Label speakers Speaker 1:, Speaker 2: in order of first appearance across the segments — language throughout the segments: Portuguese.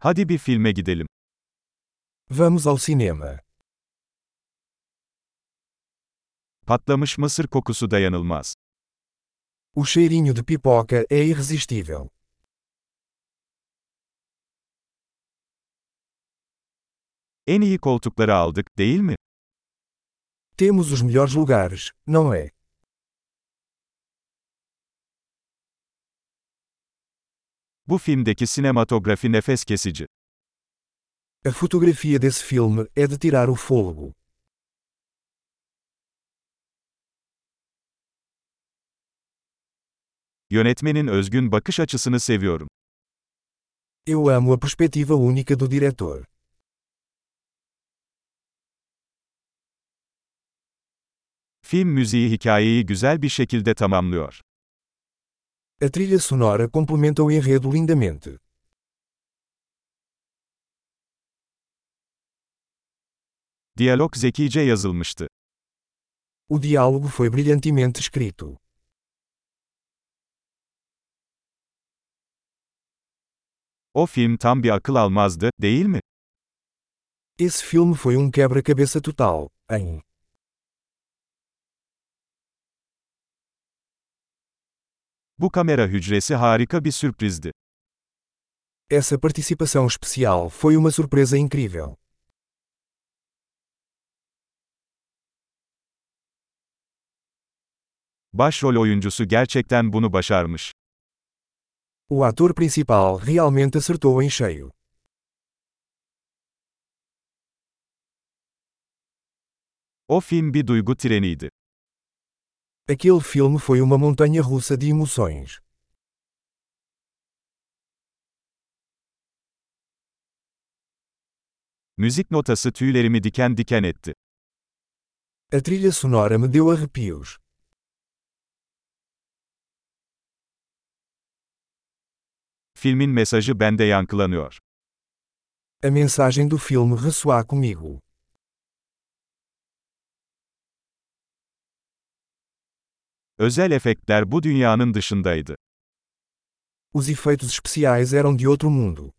Speaker 1: Hadi bir filme gidelim.
Speaker 2: Vamos ao cinema.
Speaker 1: Patlamış mısır kokusu dayanılmaz.
Speaker 2: O cheirinho de pipoca é irresistível.
Speaker 1: En iyi koltukları aldık, değil mi?
Speaker 2: Temos os melhores lugares, não é?
Speaker 1: Bu filmdeki sinematografi nefes kesici.
Speaker 2: A fotografia desse filme é de tirar o fôlego.
Speaker 1: Yönetmenin özgün bakış açısını seviyorum.
Speaker 2: Eu amo a perspectiva única do diretor.
Speaker 1: Film müziği hikayeyi güzel bir şekilde tamamlıyor.
Speaker 2: A trilha sonora complementa o enredo lindamente.
Speaker 1: Diyalog zekice yazılmıştı.
Speaker 2: O diálogo foi brilhantemente escrito.
Speaker 1: O film tam bir akıl almazdı, değil mi?
Speaker 2: Esse filme foi um quebra-cabeça total, hein?
Speaker 1: Bu kamera hücresi harika bir sürprizdi.
Speaker 2: Essa participação especial foi uma surpresa incrível.
Speaker 1: Başrol oyuncusu gerçekten bunu başarmış.
Speaker 2: O ator principal realmente acertou em cheio.
Speaker 1: O film bir duygu treniydi.
Speaker 2: Aquele filme foi uma montanha russa de emoções.
Speaker 1: Müzik notası tüylerimi diken diken etti.
Speaker 2: A trilha sonora me deu arrepios.
Speaker 1: Filmin mesajı bende yankılanıyor.
Speaker 2: A mensagem do filme ressoar comigo.
Speaker 1: Özel efektler bu dünyanın dışındaydı.
Speaker 2: Os efeitos especiais eram de outro mundo.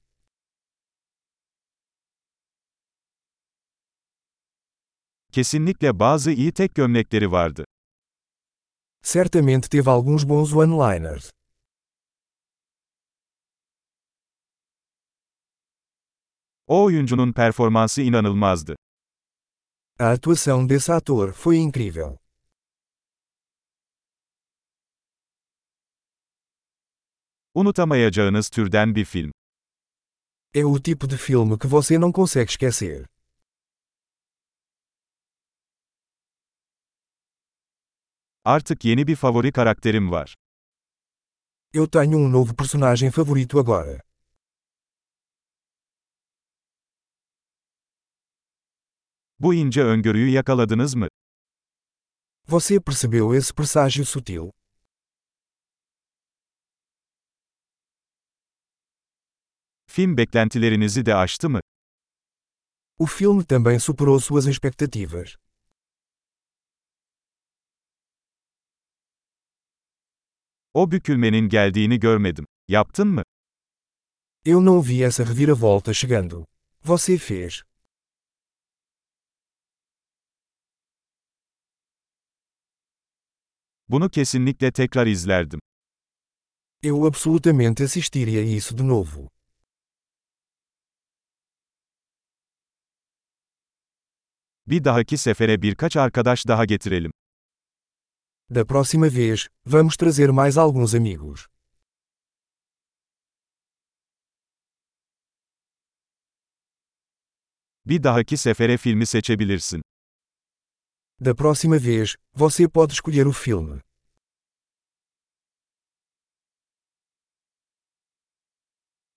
Speaker 1: Kesinlikle bazı iyi tek gömlekleri vardı.
Speaker 2: Certamente teve alguns bons one-liners.
Speaker 1: O oyuncunun performansı inanılmazdı.
Speaker 2: A atuação desse ator foi incrível.
Speaker 1: Unutamayacağınız türden bir film.
Speaker 2: É o tipo de filme que você não consegue esquecer.
Speaker 1: Artık yeni bir favori karakterim var.
Speaker 2: Eu tenho um novo personagem favorito agora.
Speaker 1: Bu ince öngörüyü yakaladınız mı?
Speaker 2: Você percebeu esse presságio sutil?
Speaker 1: Film beklentilerinizi de aştı mı?
Speaker 2: O filme também superou suas expectativas.
Speaker 1: O bükülmenin geldiğini görmedim. Yaptın mı?
Speaker 2: Eu não vi essa reviravolta chegando. Você fez.
Speaker 1: Bunu kesinlikle tekrar izlerdim.
Speaker 2: Eu absolutamente assistiria isso de novo.
Speaker 1: Bir dahaki sefere birkaç arkadaş daha getirelim.
Speaker 2: Da próxima vez, vamos trazer mais alguns amigos.
Speaker 1: Bir dahaki sefere filmi seçebilirsin.
Speaker 2: Da próxima vez, você pode escolher o filme.